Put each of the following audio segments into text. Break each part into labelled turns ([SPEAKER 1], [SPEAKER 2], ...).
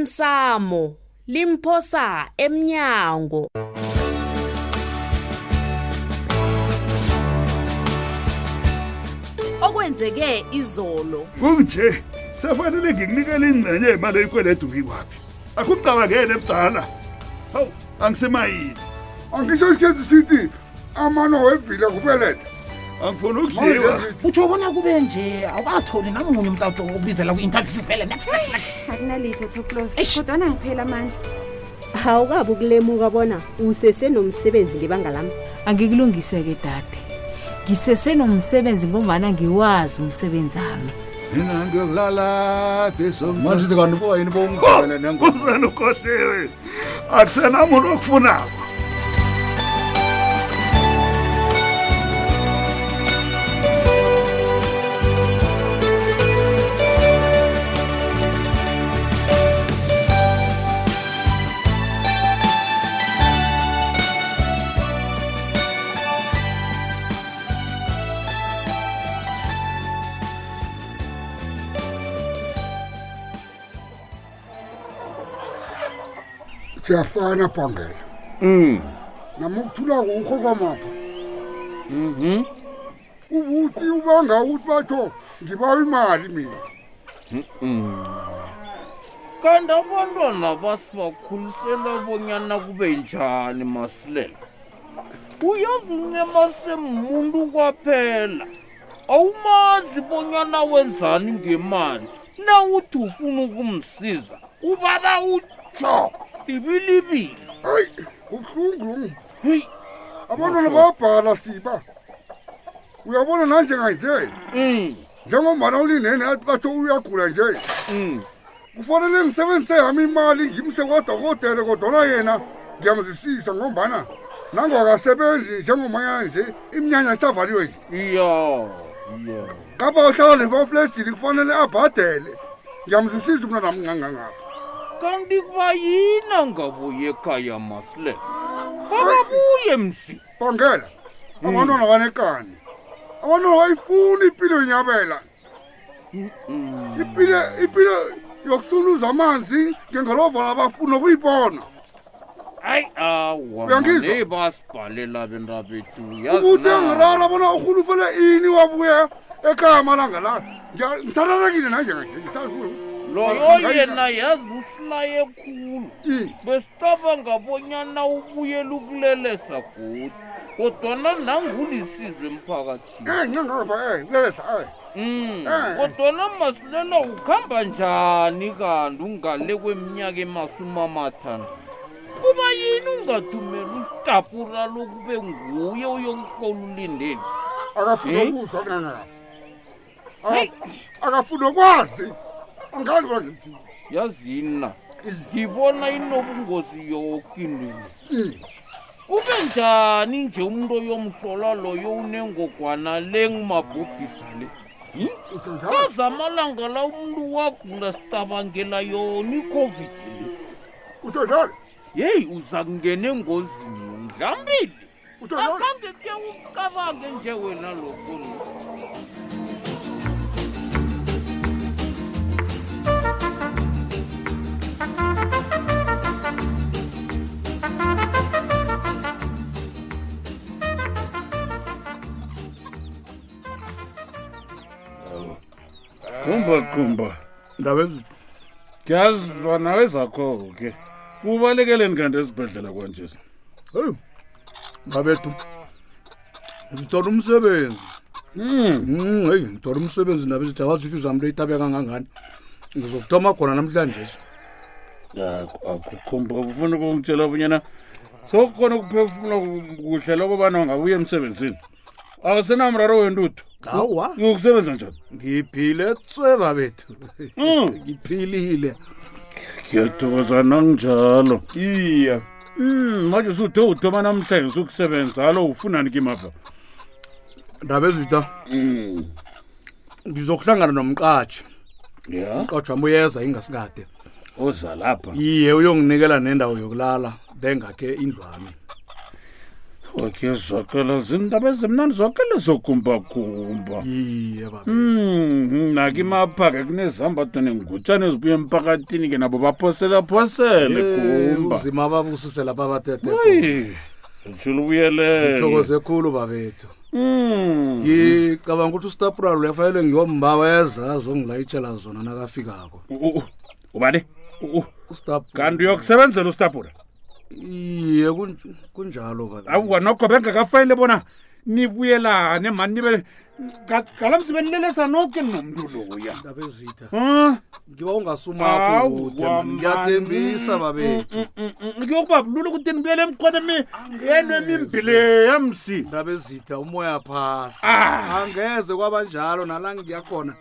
[SPEAKER 1] osemsamo limphosa emnyango okwenzeke izolo
[SPEAKER 2] kunje sefanele ngikunikele ingcenye imali eyikweledu ngikwaphi akumcabangele mdala hawu angisemayini
[SPEAKER 3] angisho isikhethu sithi amano wevila kubeletha
[SPEAKER 2] angifuni ukudliwa
[SPEAKER 4] utsho bona kube nje awukatholi namunye umntu okubizela kwi-interview vele next next next
[SPEAKER 5] akunalitho toplos
[SPEAKER 4] Eish.
[SPEAKER 5] kodwana ngiphela amandla
[SPEAKER 6] awukabi ukulemuka bona usesenomsebenzi ngebanga lami
[SPEAKER 7] angikulungise-ke dade ngisesenomsebenzi ngombana ngiwazi umsebenzi ami
[SPEAKER 2] mina ngiyolala
[SPEAKER 3] manje sekani boyini bomvela nengoma
[SPEAKER 2] umsana ukhohliwe akusenamuntu okufunako
[SPEAKER 3] siyafana bhangela nama ukuthulako ukho kwamapha ubuthi ubanga ukuthi batho ngibawa imali mina
[SPEAKER 8] kanti abantwana basibakhulisela bonyana kube njani masilela uyazi uncema semuntu kwaphela awumazi bonyana wenzani ngemali nawuthi ufuna ukumsiza ubaba utsho ibilibili
[SPEAKER 3] hayi kubuhlungu
[SPEAKER 8] heyi
[SPEAKER 3] abantwana bayabhala siba uyabona nanjenganje
[SPEAKER 8] um
[SPEAKER 3] njengomana ulinene athi batho uyagula nje
[SPEAKER 8] um
[SPEAKER 3] kufanele ngisebenzise yami imali ngimse kwadokotele kodwana yena ngiyamzisisa ngombana nangwakasebenzi njengomanyana nje iminyanya isavaliwe nje
[SPEAKER 8] ya ya
[SPEAKER 3] kapha uhlala nebaflestini kufanele abhadele ngiyamzisisa kuna nami ngangangapha
[SPEAKER 8] kanti kubayina ngabuye ekhaya masilela kababuye msi
[SPEAKER 3] bangela abantwana banekani abantwana bayifuni impilo yinyabela impilo impilo yokusuluza amanzi ngengelovala bafuna nokuyibona
[SPEAKER 8] hayi awa
[SPEAKER 3] Uyangizwa?
[SPEAKER 8] mane basibhalela bentabethu
[SPEAKER 3] ukuthi engirara bona urhulufele ini wabuya ekhaya amalanga la Ngiya- ngisararekile nanjenganje ngisakulo
[SPEAKER 8] loyo yena yazi usilaye khulu
[SPEAKER 3] i
[SPEAKER 8] besicabanga bonyana ubuyela ukulelesa godi kodwana nangulisizwe emphakathini
[SPEAKER 3] ngangapha eh lelesa eh
[SPEAKER 8] Mm,
[SPEAKER 3] Eh.
[SPEAKER 8] kodwana masilela ukuhamba njani kanti ungale kweminyaka emasumi amathandathu kuba yini ungadumeli usitapura lokube nguye uyomhlola ulindeni
[SPEAKER 3] akafuna
[SPEAKER 8] Eh?
[SPEAKER 3] ukuzwa ngangapha
[SPEAKER 8] Hey.
[SPEAKER 3] akafuna ukwazi angazi bona ngimthini
[SPEAKER 8] yazini na ngibona inobungozi yoke intweni kube njani nje umuntu oyomhlola loyo unengogwana le ngimabhubhisa le Hmm? kaza amalanga la umuntu wagula sicabangela yona i-covid le
[SPEAKER 3] utho njalo
[SPEAKER 8] yeyi uza kungena engozini mdlambili
[SPEAKER 3] utho njalo
[SPEAKER 8] akhange ke ucabange nje wena lokuni
[SPEAKER 9] qumba qumba ndabezi ngiyazizwa nawe zakho ke ubalekeleni kanti esibhedlela kwanje
[SPEAKER 2] heyi ngabethu ngithola umsebenzi
[SPEAKER 9] Hmm.
[SPEAKER 2] Mm, heyi ngithola umsebenzi nabezithi awazi ukuthi uzami leyitabeka kangangani ngizokuthoma khona namhlanje
[SPEAKER 9] qumba ufuna ukungitshela obunyana sokukhona ukuphefumula kuhle lokobana ungabuya emsebenzini akusenamraro wentuthu
[SPEAKER 2] hawa
[SPEAKER 9] uyokusebenza njani
[SPEAKER 2] ngiphile tsweba bethu
[SPEAKER 9] Mm.
[SPEAKER 2] ngiphilile
[SPEAKER 9] ngiyathokoza nanginjalo
[SPEAKER 2] iye
[SPEAKER 9] Mm, manje sude uthoma namhlanje ukusebenza alo ufunani kimapha
[SPEAKER 2] ndaba ezita ngizokuhlangana nomqatshi
[SPEAKER 9] ya
[SPEAKER 2] umqatshi wami uyeza ingasikade
[SPEAKER 9] oza lapha
[SPEAKER 2] iye uyonginikela nendawo yokulala bengakhe indlwami
[SPEAKER 9] okhe zwakala zindaba ezimnandi zwakala zokumbagumba
[SPEAKER 2] iye baba
[SPEAKER 9] Mhm, naki maphaka kunezambatho nengutshane ezibuya emphakathini ke nabo baphoselaphoselwe
[SPEAKER 2] Eh,
[SPEAKER 9] gumba
[SPEAKER 2] uzima baba ususe lapha abatete
[SPEAKER 9] utshula ubuyelele
[SPEAKER 2] thokoze khulu babethu ngicabanga ukuthi ustapral uyafanele ngiyombaweza azongilayitshela zona nakafikako
[SPEAKER 9] ubani
[SPEAKER 2] Ustap-
[SPEAKER 9] kanti uyokusebenzela ustabura
[SPEAKER 2] iye kun- kunjalo baba
[SPEAKER 9] awa nokho bengakafanele bona nibuyelane mani nibe kala mzi benilelesa noke nomntu loya
[SPEAKER 2] ndaba ezitha
[SPEAKER 9] Ah,
[SPEAKER 2] ngiba ungasumako
[SPEAKER 9] awa,
[SPEAKER 2] kude mani ngiyathembisa
[SPEAKER 9] mani.
[SPEAKER 2] babethu
[SPEAKER 9] Mm, mm, mm, mm. kuyokuba bulula ukuthi nibuyele emkhwana yenu emimbile yamsi
[SPEAKER 2] ndaba ezitha umoya phasi
[SPEAKER 9] Ah.
[SPEAKER 2] angeze kwabanjalo nala ngiyakhona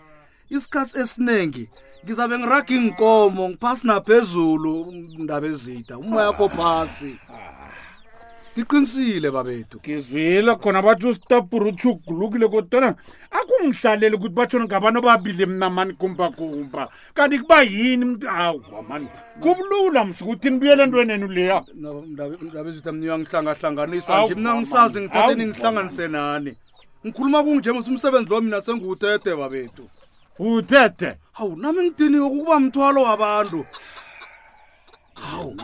[SPEAKER 2] isikhathi esiningi ngizabe ngiraga inkomo ngiphasi naphezulu ndaba ezitha umoya kho phasi ngiqinisile babethu
[SPEAKER 9] ngizwile khona bathi ustabura utsho ugulukile kodwana akungihlaleli ukuthi batshona ngabantu ababili mna mani kumbakumba kanti kuba yini mntu awa mani kubulula msukuthi nibuyele entweni enu leya
[SPEAKER 2] ndabezitha mna uyangihlangahlanganisa nje
[SPEAKER 9] Awu,
[SPEAKER 2] mna
[SPEAKER 9] mama,
[SPEAKER 2] ngisazi ngithathe
[SPEAKER 9] awu,
[SPEAKER 2] ningihlanganise nani ngikhuluma kunjemose umsebenzi lo mina sengiwutete babethu
[SPEAKER 9] uthethe
[SPEAKER 2] hawu nami ngidiniwe kukuba mthwalo wabantu hawu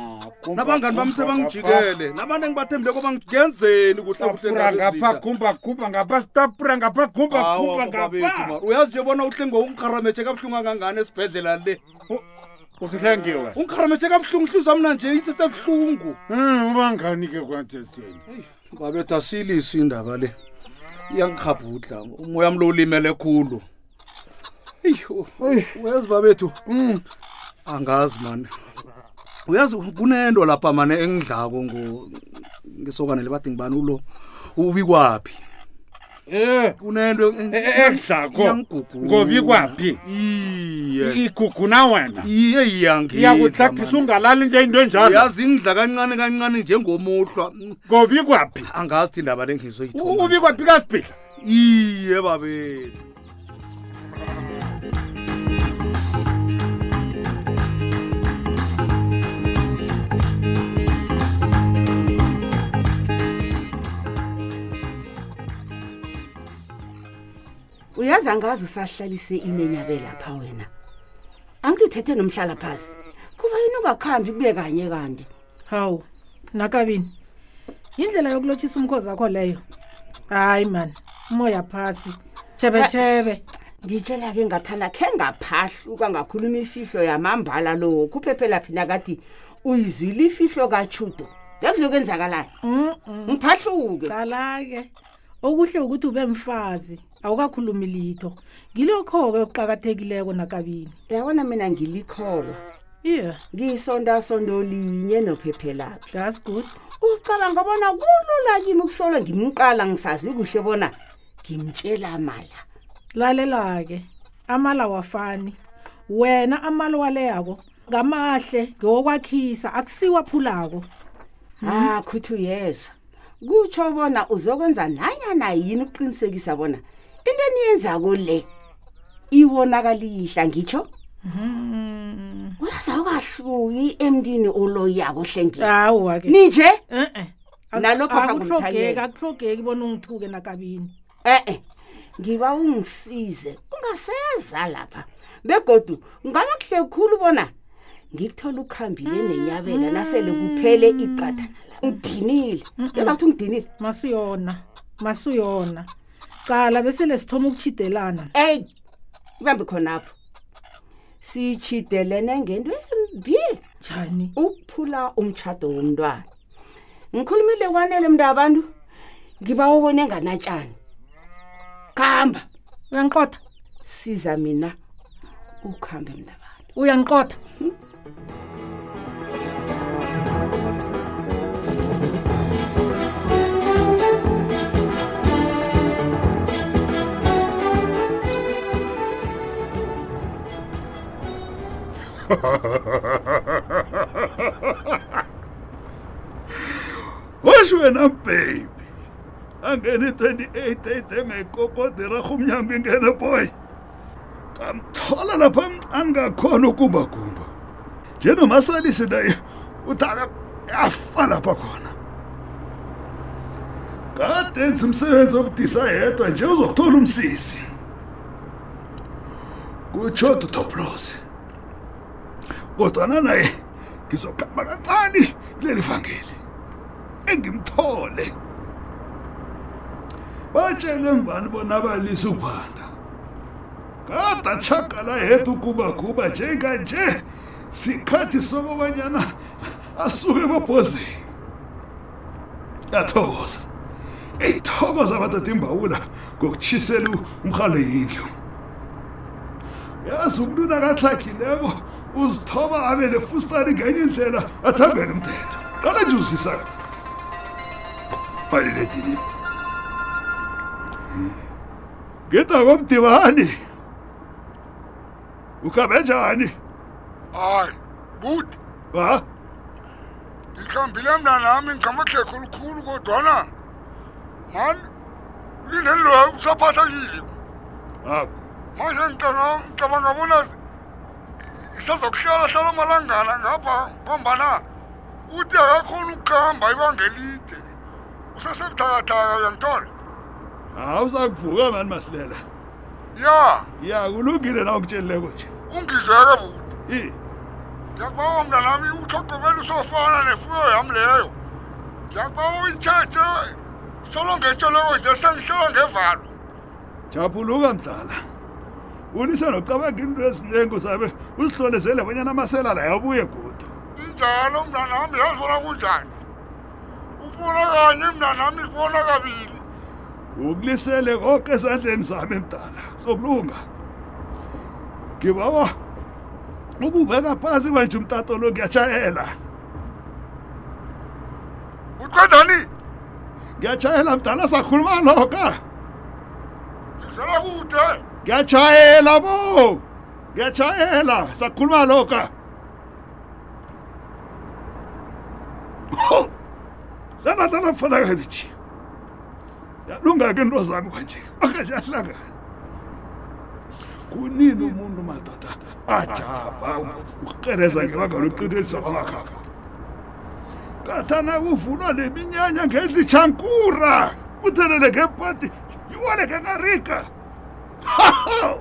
[SPEAKER 2] nabangani bami sebangijikele nabantu engibathembile koba ngenzeni kuhle kuhle
[SPEAKER 9] tapura ngapha
[SPEAKER 2] ndabezitha
[SPEAKER 9] gumba gumba ngapha stapura ngapha gumba gumba
[SPEAKER 2] hawa babethu
[SPEAKER 9] ngapha
[SPEAKER 2] mara uyazi nje bona uhlengo ungikharametshe kabuhlungu angangani esibhedlela le
[SPEAKER 9] uhlengiwe
[SPEAKER 2] ungikharametshe kabuhlungu hluza mna nje isesebuhlungu
[SPEAKER 9] Eh, ubangani ke kwanje seni
[SPEAKER 2] babethu asilisi indaba le iyangikhabhudla umoya mlo ulimele khulu eyi u- uyazi babethu
[SPEAKER 9] Mm.
[SPEAKER 2] angazi mani uyazi kunento lapha mane engidlako ngo- ngisokanele bathi ngibani ulo ubikwaphi
[SPEAKER 9] Eh,
[SPEAKER 2] kunento
[SPEAKER 9] e- e- edlako ngobi kwaphi
[SPEAKER 2] iye
[SPEAKER 9] iguguna wena
[SPEAKER 2] iye iyangidla
[SPEAKER 9] iyakuhlakhisa
[SPEAKER 2] mani.
[SPEAKER 9] ungalali nje into enjalo
[SPEAKER 2] uyazi ingidla kancane kancane njengomuhlwa Mm,
[SPEAKER 9] ngobi kwaphi
[SPEAKER 2] angazi thi indaba le ngizoyithola
[SPEAKER 9] ubi kwaphi kasibhidla
[SPEAKER 2] iye babethu
[SPEAKER 5] uyazi angazi usahlalise inenyabe lapha wena angithethe nomhlala phasi kuba yini ungakhambi kube kanye kanti
[SPEAKER 10] hawu nakabini yindlela yokulotshisa umkhozi wakho leyo hayi mani umoya phasi tshebetshebe
[SPEAKER 5] ngitshela ke ngathana khe ngaphahluka ngakhuluma ifihlo yamambala lowo kuphephela phina kathi uyizwile ifihlo katshudo ngekuzokwenzakalayo ngiphahluke
[SPEAKER 10] qala-ke okuhle ukuthi ube mfazi awukakhulumi litho ngilokho-ke okuqakathekileko nakabini
[SPEAKER 5] yabona mina ngilikholwa
[SPEAKER 10] iye
[SPEAKER 5] ngisondasondo linye nophephelapi
[SPEAKER 10] that's good
[SPEAKER 5] ucabanga bona kulula kimi ukusolo ngimqala ngisazi kuhle bona ngimtshela mala
[SPEAKER 10] lalela-ke amala wafani wena amala waleyako ngamahle ngewokwakhisa akusiwa phulako
[SPEAKER 5] ha khuthi uyezwa kutsho bona uzokwenza nanyana yini ukuqinisekisa bona into eniyenzako le iwonakaliyihla ngitsho uyaza ukahluki emntini oloyako hlengeni
[SPEAKER 10] hawu-ke
[SPEAKER 5] ninje
[SPEAKER 10] e-e
[SPEAKER 5] Nalokho
[SPEAKER 10] akuhlogeki
[SPEAKER 5] akungithanyela.
[SPEAKER 10] akuhlogeki bona ungithuke nakabini
[SPEAKER 5] e-e ngiba ungisize ungaseza lapha begodu ngaba kuhle khulu bona ngikuthola ukuhambile nenyabela nasele kuphele iqathana la ngidinile yeza kuthi ngidinile
[SPEAKER 10] masiyona masiyona cala bese lesithoma ukuchidelana
[SPEAKER 5] eyi ibambe khonapho sitshidelene ngento embi
[SPEAKER 10] njani
[SPEAKER 5] ukuphula umtshado womntwana ngikhulumile kwanele mntu abantu ngiba ubone nganatshani kamba
[SPEAKER 10] uyangiqotha
[SPEAKER 5] siza mina ukuhambe mntu abantu
[SPEAKER 10] uyangiqotha
[SPEAKER 9] hosh wena baby angene 28 ede ngayikokoderaho umnyambi ingene boy ngamthola lapha angakhona ukumbagumba njenomasalisi naye uthi aka- afa lapha khona
[SPEAKER 11] adenza umsebenzi wobudisa yedwa nje uzokuthola umsisi kutshoda utoplosi kodwana naye ngizokhamba kancane kuleli vangeli engimthole batshele mbani bona balisa ukuphanda kada chakala yethu kubaguba njenganje sikhathi sokobanyana asuke emabhozini yathokoza eyithokoza abatata imbawula ngokutshisela umhalo yindlu yazi umntu nakatlagileko uzithoba abe nefustani ngenye indlela athambele umthetho qala nje uzisa baliledilip ngidakomdibani ukhambe njani
[SPEAKER 3] hayi budi
[SPEAKER 11] ha
[SPEAKER 3] ndikhambile mnanami ngiqamahlekho olukhulu kodwana mani lineli loyo usaphathekile
[SPEAKER 11] Haku.
[SPEAKER 3] manje ngicanga- ngicabanga bona isazokuhlala hlala amalangana ngapha ngombana uthi akakhona ukuhamba ibanga elide usesebuthakathaka uyangithola
[SPEAKER 11] hawu uzakuvuka mani masilela
[SPEAKER 3] ya
[SPEAKER 11] ya kulungile na ukutshelileko nje
[SPEAKER 3] ungizweke bu
[SPEAKER 11] i
[SPEAKER 3] ndiyakubawa mntanami utlhogomele usofana nefuyo yam leyo ndiyakubawa uyitshethe solongetsheleyo nje sengihlala ngevalo
[SPEAKER 11] japhuluka mdala ulisa nokucabanga into eziningi uzabe uzihlolezele bonyana amasela la yabuye godu
[SPEAKER 3] injalo mntanami yazi bona kunjani ubona kanye mntanami kubona kabili
[SPEAKER 11] ukulisele konke
[SPEAKER 9] e
[SPEAKER 11] esandleni zami mdala sokulunga ngibawa ububeka phasi manje umtato lo ngiyatshayela
[SPEAKER 3] uqedani
[SPEAKER 11] ngiyatshayela mdala sakhuluma loka
[SPEAKER 3] ngizela kude
[SPEAKER 11] ngiyatshayela bo ngiyatshayela sakhuluma loka hlala hlala mfanakalithi yalunga ke into zami kwanje okanje ahlangana kunini umuntu madoda ajaba ukereza ngebanga lokuqinelisa kwamakhaba kathana kuvulwa le minyanya ngenza itshankura uthelele ngepati iwaleke ngarika haw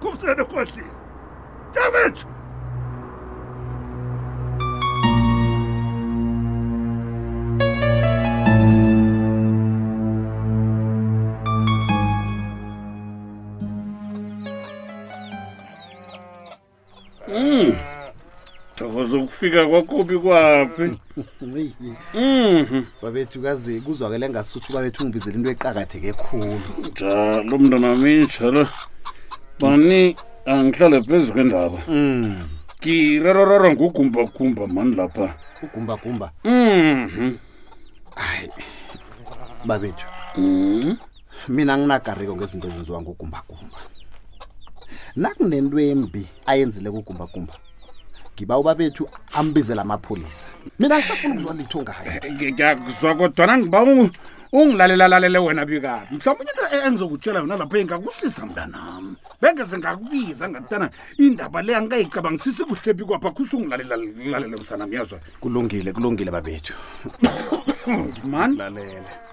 [SPEAKER 11] kumsene kodliwe damage
[SPEAKER 9] Mm. Thokoza ukufika kwakobi kwaphi? Mhm.
[SPEAKER 2] babethu kaze kuzwakele ngasuthi babethu ungibizela into eqakatheke khulu
[SPEAKER 9] Njalo mntana minja lo. Bani angihlale phezulu kwendaba. Mhm. Kirerorora ngugumba kumba mani lapha.
[SPEAKER 2] Ugumba kumba.
[SPEAKER 9] Mhm.
[SPEAKER 2] babethu Mm-hmm. mina nginagariko ngezinto ezenziwa ngugumbagumba nakunento embi ayenzile kugumbagumba ngiba ubabethu ambizela amapholisa mina ngisafuna ukuzwa litho ngayo
[SPEAKER 9] Ngiyakuzwa kodwa ngiba ungilalela lalele wena bikabi. Mhlawumbe into e-, engizokutshela yona lapha engakusiza mntanami. Benge zingakubiza ngatana indaba le angayicabangisisi kuhle bikwapha kusungilalela lalela umsana myazwa.
[SPEAKER 2] kulungile kulungile babethu
[SPEAKER 9] mani lalela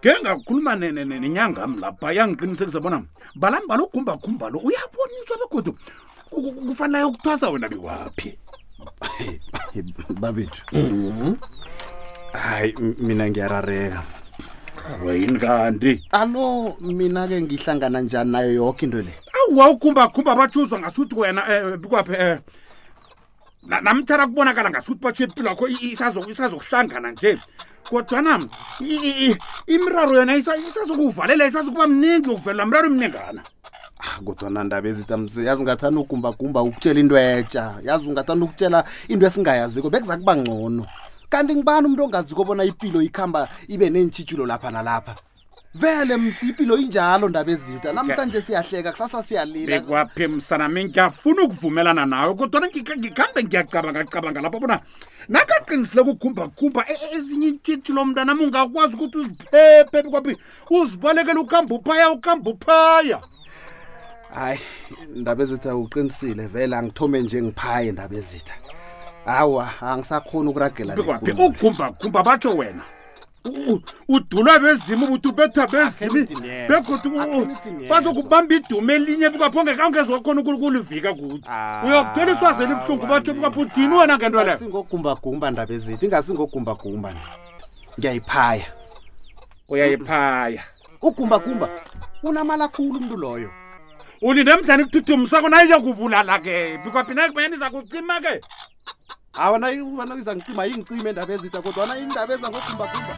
[SPEAKER 9] ke ngakhuluma ne- ne- ne- nenyanga mlapha yangiqinisekisa bona balami balo gumbagumba lo uyaboniswa begodu ku- ku- kufanele ukuthwasa wena biwaphi
[SPEAKER 2] babethu Mm-hmm. hayi m- mina ngiyarareka
[SPEAKER 9] wayini kanti
[SPEAKER 2] alo mina-ke ngihlangana njani nayo yoke into le
[SPEAKER 9] awa ugumbagumba batshuzwa ngasuthi wena um bikwaphi um namthara kubonakala ngasuthi batsho impilo yakho i- i- isazo- isazokuhlangana nje kodwana i- i- i- imiraro yona isa- isazokuvalela isazokuba mningi yokuvelela mraro mningana
[SPEAKER 2] kodwana ndaba ezitamse yazi ungathanda ugumbagumba ukutshela into etsha yazi ungathanda ukutshela into esingayaziko bekuza kuba ngcono kanti ngibani umuntu ongaziko bona ipilo ikhamba ibe neentshitshulo lapha nalapha vele msi ipilo injalo ndaba ezita namhlanje siyahleka kusasa siyalila
[SPEAKER 9] bekwaphi msanami ngiyafuna ukuvumelana nawe kodwana ngika- ngikhambe ngiyacabangacabanga lapho bona nakaqinisileyo kukhumbakhumba e- ezinye intshitshi lo mntanami ungakwazi ukuthi uziphephe bekwaphi uzibalekele ukuhamba uphaya ukuhamba uphaya
[SPEAKER 2] hayi ndaba ezitha uqinisile vele angithome nje ngiphaye ndaba ezitha hawa angisakhoni ukuragela le
[SPEAKER 9] bekwaphi
[SPEAKER 2] kulo.
[SPEAKER 9] ugumbagumba batsho wena u- udulwa bezimo ubuthi ubethwa bezimi
[SPEAKER 12] Akhenitineza.
[SPEAKER 9] begodwa u-
[SPEAKER 12] Akhenitineza.
[SPEAKER 9] bazokubamba idume elinye bukaphonge kangeziwakhona ukulukulivika kuthi uyakuthola iswazela ibuhlungu batsho bukaphudini wena ngento leyo
[SPEAKER 13] ingogumbagumba ndaba ezithi ingasingogumbagumba ngiyayiphaya
[SPEAKER 9] uyayiphaya
[SPEAKER 13] ugumbagumba unamala khulu umntu loyo
[SPEAKER 9] ulinde mdlani kuthuthumisako nayiza kubulala ke bikwaphinakubanyani iza kucima ke
[SPEAKER 13] hawa nayiza ngicima yingicime endaba ezitha kodwana indaba eza ngogumbagumba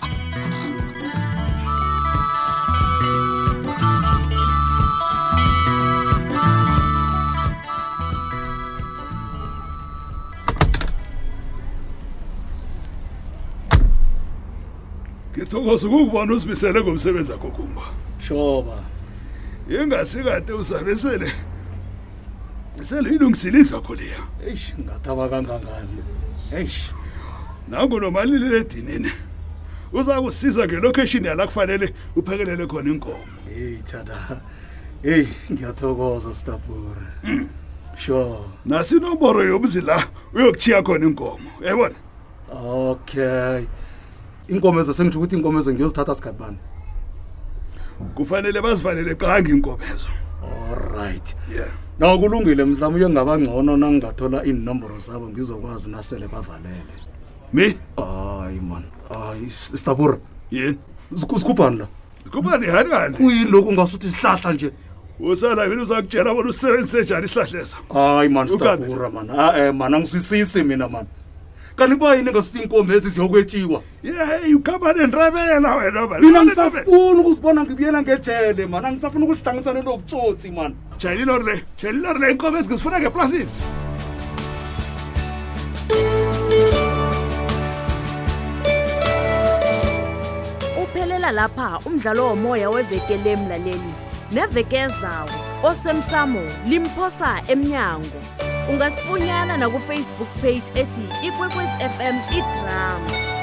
[SPEAKER 12] ngithokoza ukukubona uzimisele ngomsebenzi akho kumba
[SPEAKER 2] shoba
[SPEAKER 12] ingasikade usabesele seliyilungisile idlakho liya
[SPEAKER 2] eish ngathaba kangangani eish
[SPEAKER 12] nangu nomalilile edinini uza kusiza ngelokheshini yala kufanele uphekelele khona inkomo
[SPEAKER 2] heyi thada heyi ngiyathokoza stabure sure
[SPEAKER 12] nasinomboro yomzi la uyokuchiya khona inkomo yayibona
[SPEAKER 2] okay inkomo ezo sengitsho ukuthi inkomo ezo ngiyozithatha sikhathi bani
[SPEAKER 12] kufanele bazivalele qangi inkomo ezo
[SPEAKER 2] allright
[SPEAKER 12] yeah
[SPEAKER 2] naw kulungile mhlawumbe uye ngabangcono nangingathola iinomboro zabo ngizokwazi nasele bavalele
[SPEAKER 12] me
[SPEAKER 2] hayi man hayi S- stabure
[SPEAKER 12] yeni
[SPEAKER 2] sikhuphani la
[SPEAKER 12] kubani hani hani
[SPEAKER 2] kuyini lokhu ngasuthi sihlahla nje
[SPEAKER 12] usala mina uzakutshela bona usebenzise njani isihlahleso
[SPEAKER 2] hayi man
[SPEAKER 12] Ukabi.
[SPEAKER 2] stabura man ae man angiswisisi mina man kanti kuba yini ngasuthi iinkomo ezi ziyokwetshiwa
[SPEAKER 12] yeyi ukhamba nendrabela wena man.
[SPEAKER 2] mina ngisafuna ukuzibona ngibuyela ngejele man angisafuna ukuzihlanganisa nento obutsotsi man
[SPEAKER 12] jayela ilori le jayela ilori le inkomo ezingizifuna ngeplasini
[SPEAKER 1] uphelela lapha umdlalo womoya weveke lemlaleli neveke ezawo osemsamo limphosa emnyango ungasifunyana nakufacebook page ethi ikwekwezi fm idrama